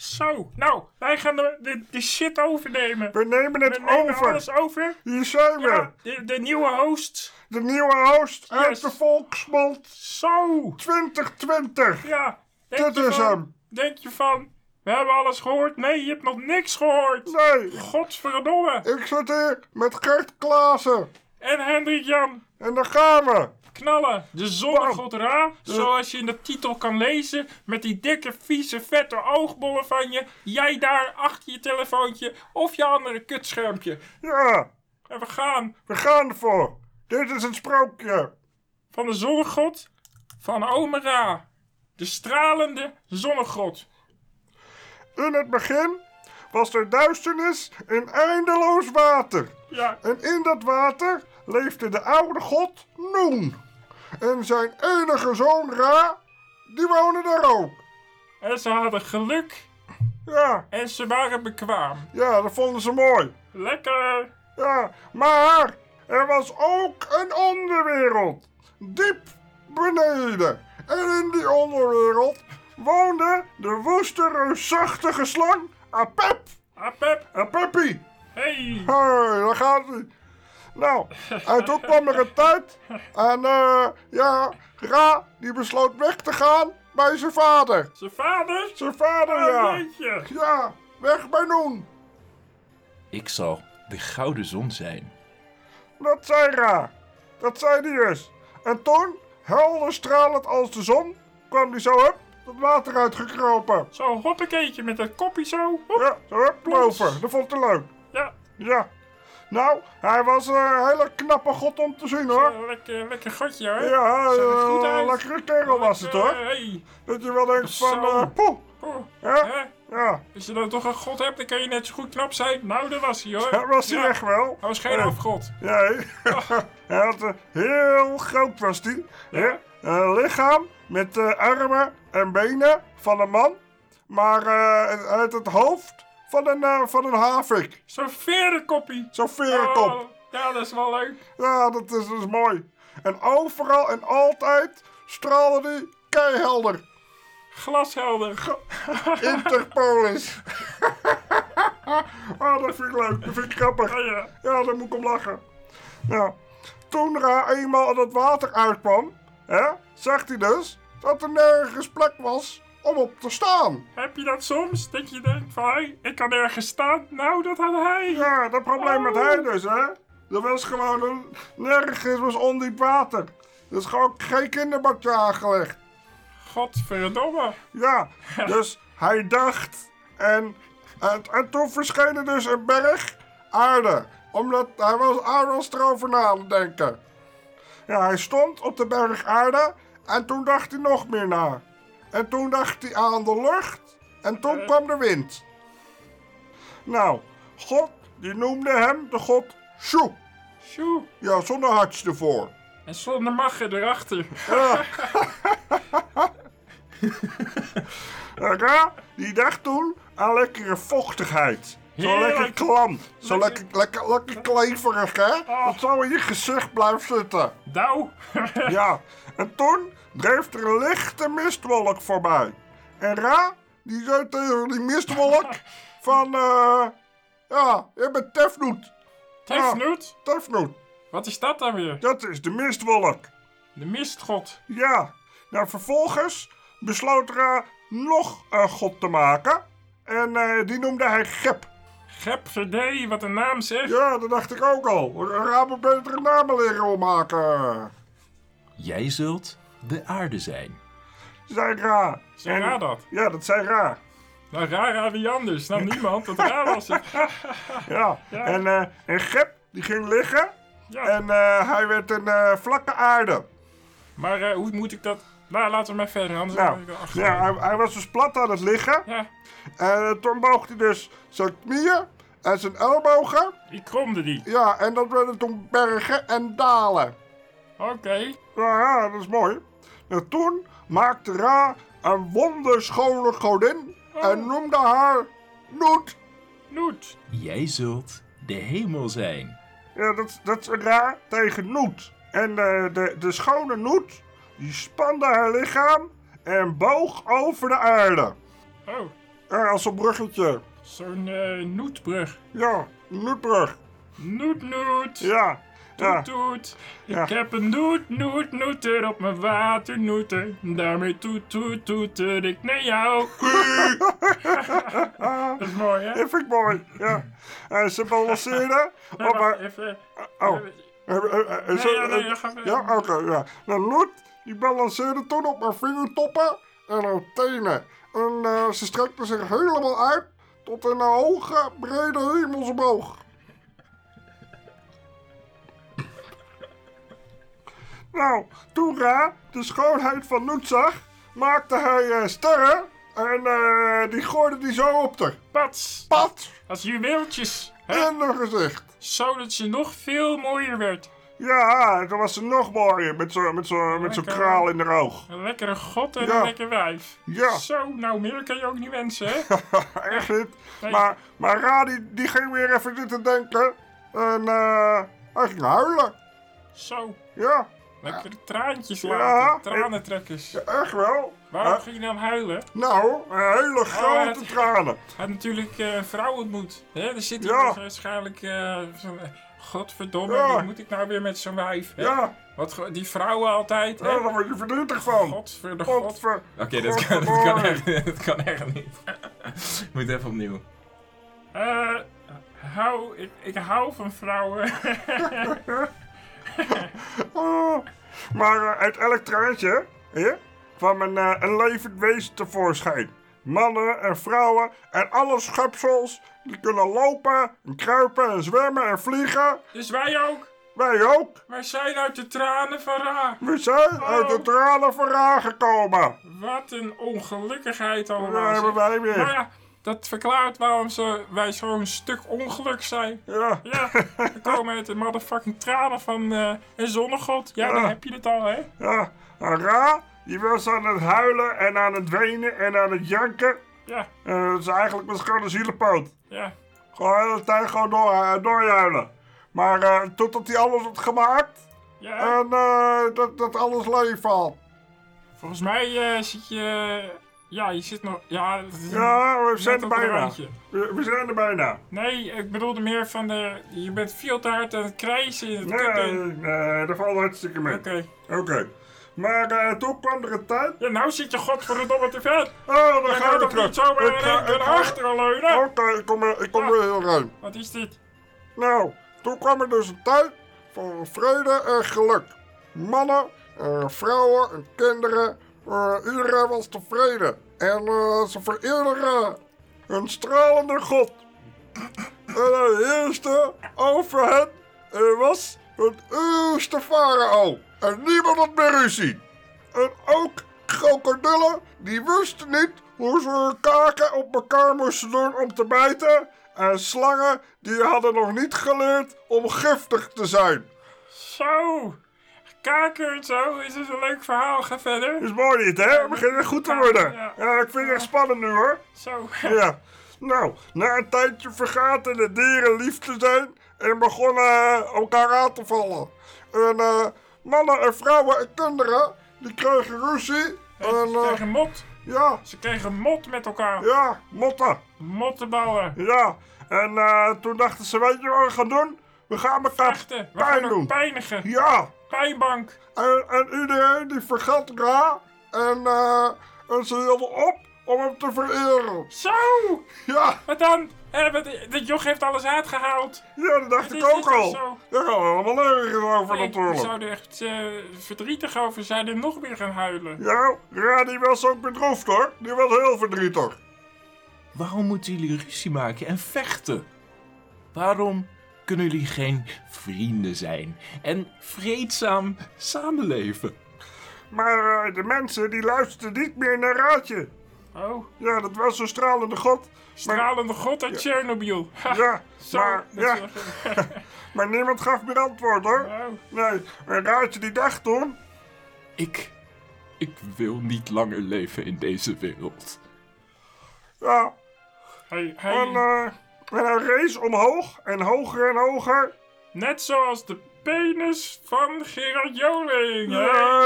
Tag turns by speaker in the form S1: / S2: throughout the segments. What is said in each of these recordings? S1: Zo, nou, wij gaan de, de, de shit overnemen.
S2: We nemen het
S1: We nemen
S2: over.
S1: alles over.
S2: Hier zijn we.
S1: Ja, de, de nieuwe host.
S2: De nieuwe host uit
S1: Yes.
S2: de Volksmond
S1: Zo,
S2: 2020.
S1: ja. Denk
S2: Dit
S1: je
S2: is
S1: van-
S2: hem.
S1: Denk je van, we hebben alles gehoord? Nee, je hebt nog niks gehoord.
S2: Nee,
S1: Godverdomme.
S2: ik zit hier met Gert Klaassen.
S1: En Hendrik Jan,
S2: En daar gaan we.
S1: knallen. De zonnegod Ra, zoals je in de titel kan lezen, met die dikke, vieze, vette oogbollen van je. Jij daar achter je telefoontje of je andere kutschermpje.
S2: Ja,
S1: En we gaan
S2: we gaan ervoor. Dit is een sprookje.
S1: van de zonnegod van Omera. De stralende zonnegod.
S2: In het begin was er duisternis in eindeloos water.
S1: Ja,
S2: En in dat water leefde de oude god Noen. En zijn enige zoon Ra, die woonde daar ook.
S1: en ze hadden geluk
S2: Ja,
S1: en ze waren bekwaam.
S2: ja, dat vonden ze mooi.
S1: Lekker.
S2: Ja, maar er was ook een onderwereld. Diep beneden. En in die onderwereld woonde de woeste reusachtige slang Apep.
S1: Apep,
S2: Apepi.
S1: hey.
S2: Hé, daar gaat hij. Nou, en toen kwam er een tijd. En eh, ja, Ra die besloot weg te gaan bij zijn vader.
S1: Zijn vader?
S2: Zijn vader,
S1: Oh,
S2: ja.
S1: jeetje.
S2: Ja, weg bij Noen.
S3: Ik zal de gouden zon zijn.
S2: Dat zei Ra. Dat zei die dus. En toen, helder stralend als de zon, kwam die zo hup, het water uitgekropen.
S1: Zo, hoppakeetje met dat koppie zo. Hop.
S2: Ja, zo hup, lopen. Dat vond hij leuk.
S1: Ja,
S2: Ja. Nou, hij was eh, een hele knappe god om te zien hoor.
S1: eh, lekker, lekker gatje hoor.
S2: Ja,
S1: Zag er
S2: eh,
S1: goed uit.
S2: lekkere kerel was het
S1: Lekker,
S2: hoor.
S1: hey.
S2: Dat je wel denkt van,
S1: Zo.
S2: eh, poeh.
S1: Oh,
S2: Ja.
S1: hè?
S2: Ja,
S1: Als je dan toch een god hebt, dan kan je net zo goed knap zijn. Nou, daar was hij hoor.
S2: dat was hij
S1: Ja, Oh,
S2: echt wel.
S1: Hij was geen
S2: Eh,
S1: afgod.
S2: Nee. hij had een heel groot was die. Ja. Een lichaam met eh, armen en benen van een man. Maar eh, hij had het hoofd van een, eh, van een havik.
S1: Zo'n verenkoppie.
S2: Zo'n verenkop.
S1: Oh, ja, dat is wel leuk.
S2: Ja, dat is, dat is mooi. En overal en altijd straalde hij keihelder.
S1: Glashelder.
S2: Interpolis. ah, dat vind ik leuk. Dat vind ik grappig.
S1: Oh, ja.
S2: Ja, daar moet ik om lachen. Ja. Toen Ra eenmaal aan het water uitkwam, hè, zag hij dus dat er nergens plek was om op te staan.
S1: Heb je dat soms? Dat je denkt van, hé, ik kan ergens staan. Nou, dat had hij.
S2: Ja, dat probleem met
S1: Oh.
S2: hij dus, hè. Er was gewoon een- nergens was ondiep water. Er is gewoon geen kinderbakje aangelegd.
S1: Godverdomme.
S2: Ja, dus hij dacht. En, en, en toen verscheen er dus een berg aarde. Omdat hij was, hij was erover na aan het denken. Ja, hij stond op de berg aarde. En toen dacht hij nog meer na. En toen dacht hij aan de lucht. En toen kwam de wind. Nou, God die noemde hem de god Shu.
S1: Sjoe.
S2: Ja, zonder hartje ervoor.
S1: En zonder magge erachter.
S2: Ra, die dacht toen aan lekkere vochtigheid. Zo
S1: Heerlijk.
S2: lekker klam. Zo lekker,
S1: Lekker.
S2: lekker, lekker kleverig, hè?
S1: Ah.
S2: Dat zo in je gezicht blijft zitten.
S1: Nou.
S2: Ja. En toen dreef er een lichte mistwolk voorbij. En Ra, die zei tegen die mistwolk van... eh, ja, je bent Tefnoet.
S1: Tefnoet.
S2: Tefnoet.
S1: Wat is dat dan weer?
S2: Dat is de mistwolk.
S1: De mistgod.
S2: Ja, nou vervolgens besloot Ra nog een god te maken. En eh, die noemde hij Gep.
S1: Gepverdee, wat een naam zeg.
S2: Ja, dat dacht ik ook al. Ra moet betere namen leren ommaken.
S3: Jij zult de aarde zijn.
S2: Zei Ra.
S1: Zei
S2: En-
S1: Ra dat?
S2: Ja, dat zei Ra.
S1: Nou, raar aan wie anders. Nou, niemand. Dat raar was het.
S2: Ja.
S1: Ja.
S2: En, eh, en Gep, die ging liggen.
S1: Ja.
S2: En eh, hij werd een eh, vlakke aarde.
S1: Maar eh, hoe moet ik dat... Nou, laten we maar verder, anders ben
S2: Nou,
S1: ik erachter.
S2: ja, hij, hij was dus plat aan het liggen.
S1: ja,
S2: En eh, toen boog hij dus zijn knieën en zijn ellebogen.
S1: die kromde die.
S2: Ja, en dat werden toen bergen en dalen.
S1: Oké.
S2: Nou ja, dat is mooi. En toen maakte Ra een wonderschone godin
S1: Oh.
S2: en noemde haar Noet.
S1: Noet.
S3: Jij zult de hemel zijn.
S2: Ja, dat, dat is Ra tegen Noet. En eh, de, de schone Noet, die spande haar lichaam en boog over de aarde.
S1: Oh.
S2: Ja, als een bruggetje.
S1: Zo'n eh, noetbrug.
S2: Ja, Noetbrug.
S1: Noet, noet.
S2: Ja, ja.
S1: Toet, toet. Ik
S2: Ja.
S1: heb een noet, noet, noeter op mijn waternoeter. Daarmee toet, toet, toeter ik naar jou. dat is mooi, hè?
S2: Dat vind ik mooi. Ja. Eh, ze balanceerde
S1: Nee,
S2: op
S1: wacht
S2: haar...
S1: even.
S2: Oh. Eh, eh, eh, eh,
S1: ja, nee,
S2: eh,
S1: dat gaat-
S2: ja, oké, ja. Nou, Loet, die balanceerde toen op haar vingertoppen en haar tenen. En eh, ze strekte zich helemaal uit tot in een hoge, brede hemelsboog. nou, toen Ra de schoonheid van Loet zag, maakte hij eh, sterren en eh, die gooide die zo op de
S1: Pats.
S2: pad
S1: Als juweeltjes. Hè?
S2: in haar gezicht.
S1: Zodat ze nog veel mooier werd.
S2: Ja, toen was ze nog mooier met zo'n met zo, met zo
S1: Lekker.
S2: kraal in haar oog.
S1: Een lekkere god en
S2: Ja.
S1: een lekker wijf.
S2: Ja.
S1: Zo, nou meer kan je ook niet wensen, hè?
S2: Echt niet.
S1: Nee.
S2: Maar, maar Ra die, die ging weer even zitten denken. En eh, hij ging huilen.
S1: Zo.
S2: Ja,
S1: Lekkere traantjes
S2: Ja.
S1: laten. Tranentrekkers.
S2: echt wel.
S1: Waarom
S2: Eh,
S1: ging je dan huilen?
S2: nou, een hele grote
S1: Oh, het-
S2: tranen.
S1: Hij had natuurlijk eh, een vrouw ontmoet. Hè? Er zit hier
S2: Ja.
S1: toch waarschijnlijk eh, zo'n... Godverdomme,
S2: Ja.
S1: wat moet ik nou weer met zo'n wijf? Hè?
S2: Ja,
S1: Wat, ge- die vrouwen altijd, hè?
S2: ja, daar word je verdrietig van.
S1: Godver de Oh, god.
S2: Godver.
S3: Oké, dat, kan, dat, kan echt, dat kan echt niet. Ik moet even opnieuw.
S1: Eh, hou, ik, ik hou van vrouwen.
S2: Oh. Maar eh, uit elk traantje hè, kwam een, eh, een levend wezen tevoorschijn. Mannen en vrouwen en alle schepsels die kunnen lopen en kruipen en zwemmen en vliegen.
S1: dus wij ook.
S2: Wij ook.
S1: Wij zijn uit de tranen van Ra.
S2: We zijn uit de tranen van Ra gekomen.
S1: Wat een ongelukkigheid allemaal.
S2: Daar hebben
S1: zeg.
S2: wij
S1: Maar
S2: weer.
S1: ja, dat verklaart waarom ze, wij zo'n stuk ongeluk zijn.
S2: Ja.
S1: Ja, we komen uit de motherfucking tranen van eh een zonnegod. Ja, dan
S2: Ja.
S1: heb je het al, hè?
S2: ja. En Ra, die was aan het huilen en aan het wenen en aan het janken.
S1: Ja,
S2: Eh, dat is eigenlijk misschien een zielepoot.
S1: ja.
S2: Gewoon de hele tijd gewoon door, eh, doorhuilen. Maar eh, totdat hij alles had gemaakt
S1: ja.
S2: en eh, dat, dat alles leeg valt.
S1: Volgens mij eh, zit je... Ja, je zit nog... Ja, het is
S2: Ja, we
S1: net
S2: zijn er
S1: op het
S2: bijna.
S1: randje.
S2: We, we zijn er bijna.
S1: Nee, ik bedoelde meer van de... Je bent veel te hard aan het krijsen in het
S2: Nee,
S1: kutbeen.
S2: nee, dat valt hartstikke mee.
S1: Oké.
S2: Oké. Maar eh, toen kwam er een tijd.
S1: Ja, nou zit je godverdomme te ver.
S2: Oh, daar
S1: Je
S2: gaan
S1: gaat
S2: we
S1: toch
S2: terug.
S1: niet zomaar
S2: Ik
S1: in
S2: ga- Oh.
S1: één keer
S2: ik
S1: naar Ah.
S2: ga-
S1: achteren leunen?
S2: Oké, ik kom, weer- ik kom weer heel ruim.
S1: Wat is dit?
S2: Nou, toen kwam er dus een tijd van vrede en geluk. Mannen, eh, vrouwen en kinderen, eh, iedereen was tevreden. En eh, ze vereerden een stralende God. En hij heerste over hen en was het eerste farao. En niemand had meer ruzie. En ook krokodillen, die wisten niet hoe ze hun kaken op elkaar moesten doen om te bijten. En slangen, die hadden nog niet geleerd om giftig te zijn.
S1: Zo. Kaken en zo is het een leuk verhaal. Ga verder.
S2: Is mooi niet, hè? Het begint weer goed te worden.
S1: Ja.
S2: Ja, ik vind het echt spannend nu, hoor.
S1: Zo.
S2: Ja. Nou, na een tijdje vergaten de dieren lief te zijn en begonnen eh, elkaar aan te vallen. En eh, mannen en vrouwen en kinderen, die kregen ruzie. En
S1: Ze
S2: eh,
S1: kregen mot.
S2: ja,
S1: Ze kregen mot met elkaar.
S2: ja, motten.
S1: Mottenballen.
S2: Ja, en eh, toen dachten ze, weet je wat we gaan doen? We gaan elkaar
S1: Vechten. We gaan
S2: pijn
S1: ook
S2: doen.
S1: pijnigen.
S2: Ja,
S1: Pijnbank.
S2: en, en iedereen die vergat elkaar en, eh, en ze hielden op om hem te vereren.
S1: Zo.
S2: Ja,
S1: Wat dan? Eh, wat- Dat joch heeft alles uitgehaald.
S2: ja dat dacht
S1: Het
S2: ik
S1: is-
S2: ook
S1: het is
S2: al.
S1: zo.
S2: Daar gaan we allemaal nergens over
S1: Ik ik
S2: natuurlijk.
S1: zou er echt eh, verdrietig over zijn en nog meer gaan huilen.
S2: Ja, ja, die was ook bedroefd hoor. Die was heel verdrietig.
S3: Waarom moeten jullie ruzie maken en vechten? Waarom kunnen jullie geen vrienden zijn en vreedzaam samenleven?
S2: Maar eh, de mensen die luisterden niet meer naar Raadje.
S1: Oh.
S2: Ja, dat was een stralende god. Maar,
S1: Stralende god uit Tsjernobyl. Ha,
S2: ja,
S1: Zo.
S2: maar,
S1: dat
S2: ja,
S1: is wel-
S2: maar niemand gaf meer antwoord hoor.
S1: Oh.
S2: Nee, en Raadje die dacht toen...
S3: Ik. Ik wil niet langer leven in deze wereld.
S2: Ja,
S1: Hij, hij,
S2: en, eh, en hij race omhoog en hoger en hoger.
S1: Net zoals de penis van Gerard Joling. hè?
S2: Ja,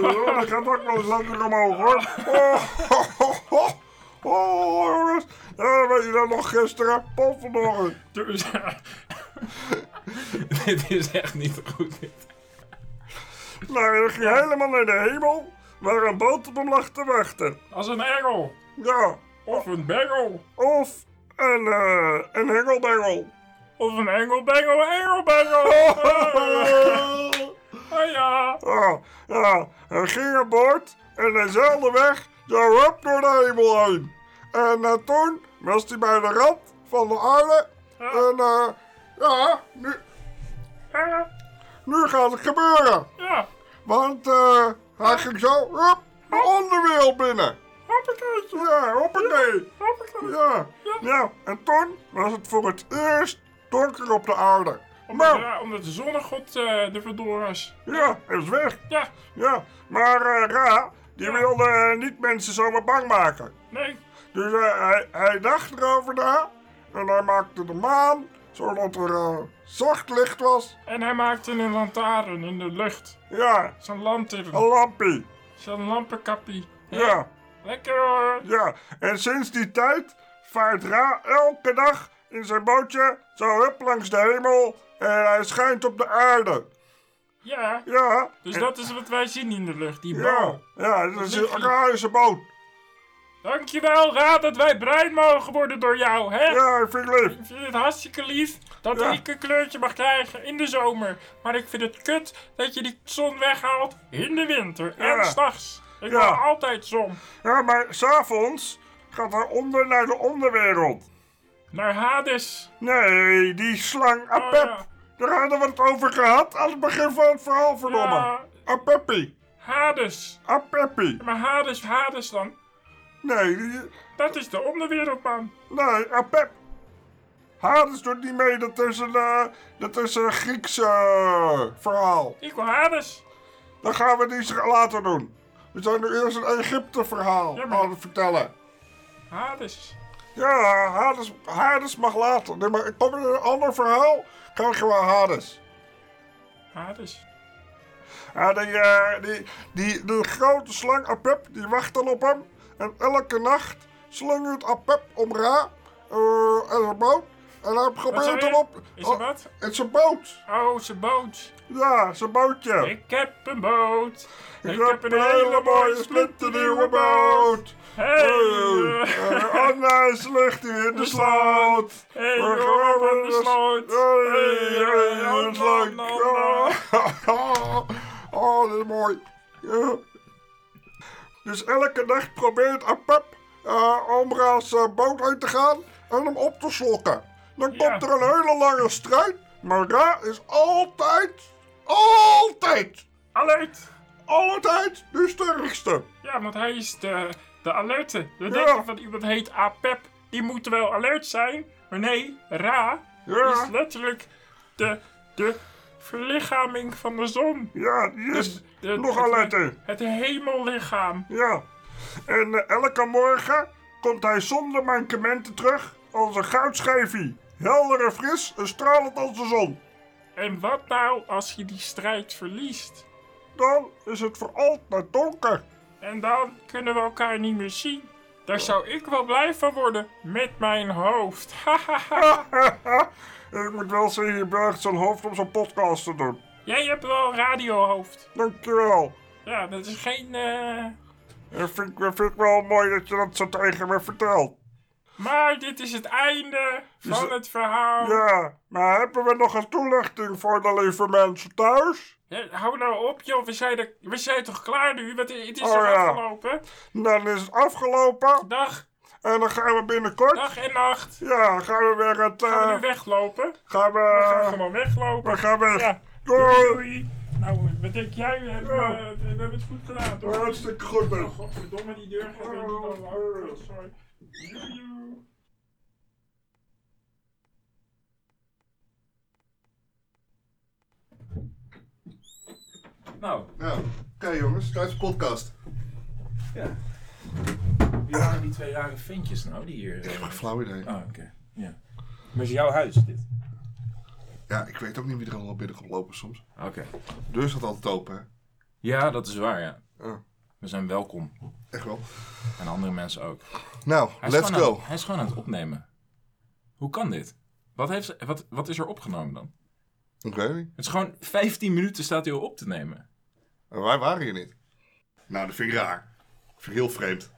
S2: dat gaat ook wel eens lekker omhoog hoor. Oh, ho, ho, ho. Oh, jongens. Ja, weet je dat nog gisteren? Potverdorie.
S1: Dus,
S3: dit is echt niet goed. dit.
S2: Nou, dat ging helemaal naar de hemel. Waar een boot op hem lag te wachten.
S1: als een engel.
S2: Ja.
S1: Of een bengel.
S2: Of een, eh een hengelbengel.
S1: Of een engelbengel, engelbengel. Ah ja.
S2: Ja, Oh, ja, hij ging aan boord en dezelfde weg, ja, hup, door de hemel heen. En eh, toen was hij bij de rand van de aarde. En eh, ja, nu,
S1: Ah,
S2: nu gaat het gebeuren.
S1: Ja.
S2: Want eh, hij ging zo, hup, de onderwereld binnen.
S1: Hoppakee.
S2: Ja, hoppakee.
S1: Hoppakee.
S2: Ja, ja, en toen was het voor het eerst donker op de aarde. Maar,
S1: Ja, omdat de zonnegod eh er vandoor was.
S2: ja, hij is weg.
S1: Ja,
S2: Ja, maar eh, Ra, die wilde eh, niet mensen zomaar bang maken.
S1: nee.
S2: Dus eh, hij, hij dacht erover na en hij maakte de maan, zodat er eh, zacht licht was.
S1: En hij maakte een lantaarn in de lucht.
S2: Ja,
S1: Zo'n
S2: een
S1: lantaarn.
S2: lampie.
S1: Zo'n lampenkappie.
S2: Ja,
S1: Lekker hoor.
S2: ja. En sinds die tijd vaart Ra elke dag in zijn bootje zo hup langs de hemel en hij schijnt op de aarde.
S1: Ja.
S2: Ja,
S1: Dus
S2: en-
S1: dat is wat wij zien in de lucht, die
S2: ja,
S1: bal.
S2: ja, dat is
S1: ligt
S2: een
S1: hier.
S2: Ra is een boot.
S1: Dankjewel, Ra, dat wij bruin mogen worden door jou, hè?
S2: Ja, ik vind ik lief.
S1: Ik vind het hartstikke lief dat
S2: Ja.
S1: ik een kleurtje mag krijgen in de zomer. Maar ik vind het kut dat je die zon weghaalt in de winter
S2: Ja.
S1: en s'nachts. Ik
S2: Ja.
S1: wil altijd zon.
S2: Ja, maar s'avonds gaat hij onder naar de onderwereld.
S1: Naar Hades.
S2: Nee, die slang Apep.
S1: Oh, ja.
S2: Daar hadden we het over gehad aan het begin van het verhaal, verdomme.
S1: Ja.
S2: Apeppie.
S1: Hades.
S2: Apeppie.
S1: Maar Hades, Hades dan.
S2: Nee, die-
S1: Dat is de onderwereld, man.
S2: nee, Apep. Hades doet niet mee, dat is een, eh, dat is een Grieks eh, verhaal.
S1: Ik wil Hades.
S2: Dat gaan we niet later doen. We zijn nu eerst een Egypte verhaal
S1: Ja, maar-
S2: aan het vertellen.
S1: Hades.
S2: Ja, Hades, Hades mag later. Nee, maar ik kom in een ander verhaal, krijgen we Hades.
S1: Hades.
S2: Ja, die, eh, die, die, die grote slang Apep, die wacht dan op hem. En elke nacht slingert Apep om Ra eh, en zijn boot. En hij
S1: zei
S2: probeert
S1: je?
S2: hem op...
S1: Is er wat?
S2: Het is een boot.
S1: Oh, zijn boot.
S2: Ja, zijn bootje.
S1: Ik heb een boot. Ik, heb een
S2: hele, mooie splinternieuwe boot.
S1: Hey,
S2: eh,
S1: eh,
S2: oh nee, ze ligt hier in de sloot.
S1: Hey,
S2: We
S1: Joram
S2: gaan
S1: van
S2: in
S1: de
S2: s-
S1: sloot.
S2: Hey,
S1: Hey,
S2: hey,
S1: hey,
S2: een
S1: nam,
S2: slang.
S1: nam, nam.
S2: Oh, Oh, dit is mooi. Ja. Dus elke dag probeert Apep eh Omra's eh, boot uit te gaan en hem op te slokken. Dan
S1: Ja.
S2: komt er een hele lange strijd, maar Ra is altijd, altijd,
S1: Alert.
S2: altijd de sterkste.
S1: Ja, want hij is de, de alerte. We
S2: Ja.
S1: denken van iemand heet Apep. Die moet wel alert zijn. Maar nee, Ra
S2: Ja.
S1: is letterlijk de, de verlichaming van de zon.
S2: Ja, die is
S1: De-
S2: nog
S1: het-
S2: alerter.
S1: Het hemellichaam.
S2: Ja, en eh, elke morgen komt hij zonder mankementen terug als een goudschijfie. Helder en fris en stralend als de zon.
S1: En wat nou als je die strijd verliest?
S2: Dan is het voor altijd donker.
S1: En dan kunnen we elkaar niet meer zien. Daar zou ik wel blij van worden. Met mijn hoofd.
S2: ik moet wel zeggen, je buigt zijn hoofd om zo'n podcast te doen.
S1: Jij hebt wel een radiohoofd.
S2: Dankjewel.
S1: Ja, dat is geen... eh,
S2: Dat vind, ik- dat vind ik wel mooi dat je dat zo tegen me vertelt.
S1: Maar dit is het einde van het verhaal.
S2: Dus Ja, maar hebben we nog een toelichting voor de lieve mensen thuis?
S1: Hé, hou nou op joh, we zijn, er, we zijn toch klaar nu? Wat, het is
S2: Oh,
S1: toch
S2: ja.
S1: afgelopen?
S2: Dan is het afgelopen
S1: Dag,
S2: en dan gaan we binnenkort...
S1: dag en nacht.
S2: Ja, gaan we weer het...
S1: Gaan we
S2: eh,
S1: nu weglopen?
S2: Gaan we.
S1: We gaan gewoon weglopen.
S2: We gaan weg.
S1: Ja.
S2: Doei.
S1: Doei. Nou, wat denk jij? We hebben,
S2: Ja.
S1: eh, we hebben het goed gedaan, toch?
S2: Hartstikke goed, man.
S1: Godverdomme, die deur gaat weer niet
S3: Oh,
S1: open. Sorry. Joe, joe.
S3: Nou,
S4: Nou, oké jongens, tijdens de podcast.
S3: ja. Wie waren die twee rare ventjes nou die hier... eh,
S4: Flauw idee.
S3: Ah, oké. Ja. Maar is jouw huis dit?
S4: Ja, ik weet ook niet wie er allemaal binnen komt lopen soms.
S3: Oké.
S4: De deur staat altijd open, hè?
S3: Ja, dat is waar, ja.
S4: Ja.
S3: We zijn welkom.
S2: Echt wel.
S3: En andere mensen ook.
S2: Nou,
S3: Hij is
S2: let's
S3: gewoon aan-
S2: go.
S3: hij is gewoon aan het opnemen. Hoe kan dit? Wat, heeft, ze- wat, wat is er opgenomen dan?
S2: Ik weet niet.
S3: Het is gewoon 15 minuten staat hij al op te nemen.
S2: Maar Wij waren hier niet. Nou, dat vind ik raar. Dat vind ik heel vreemd.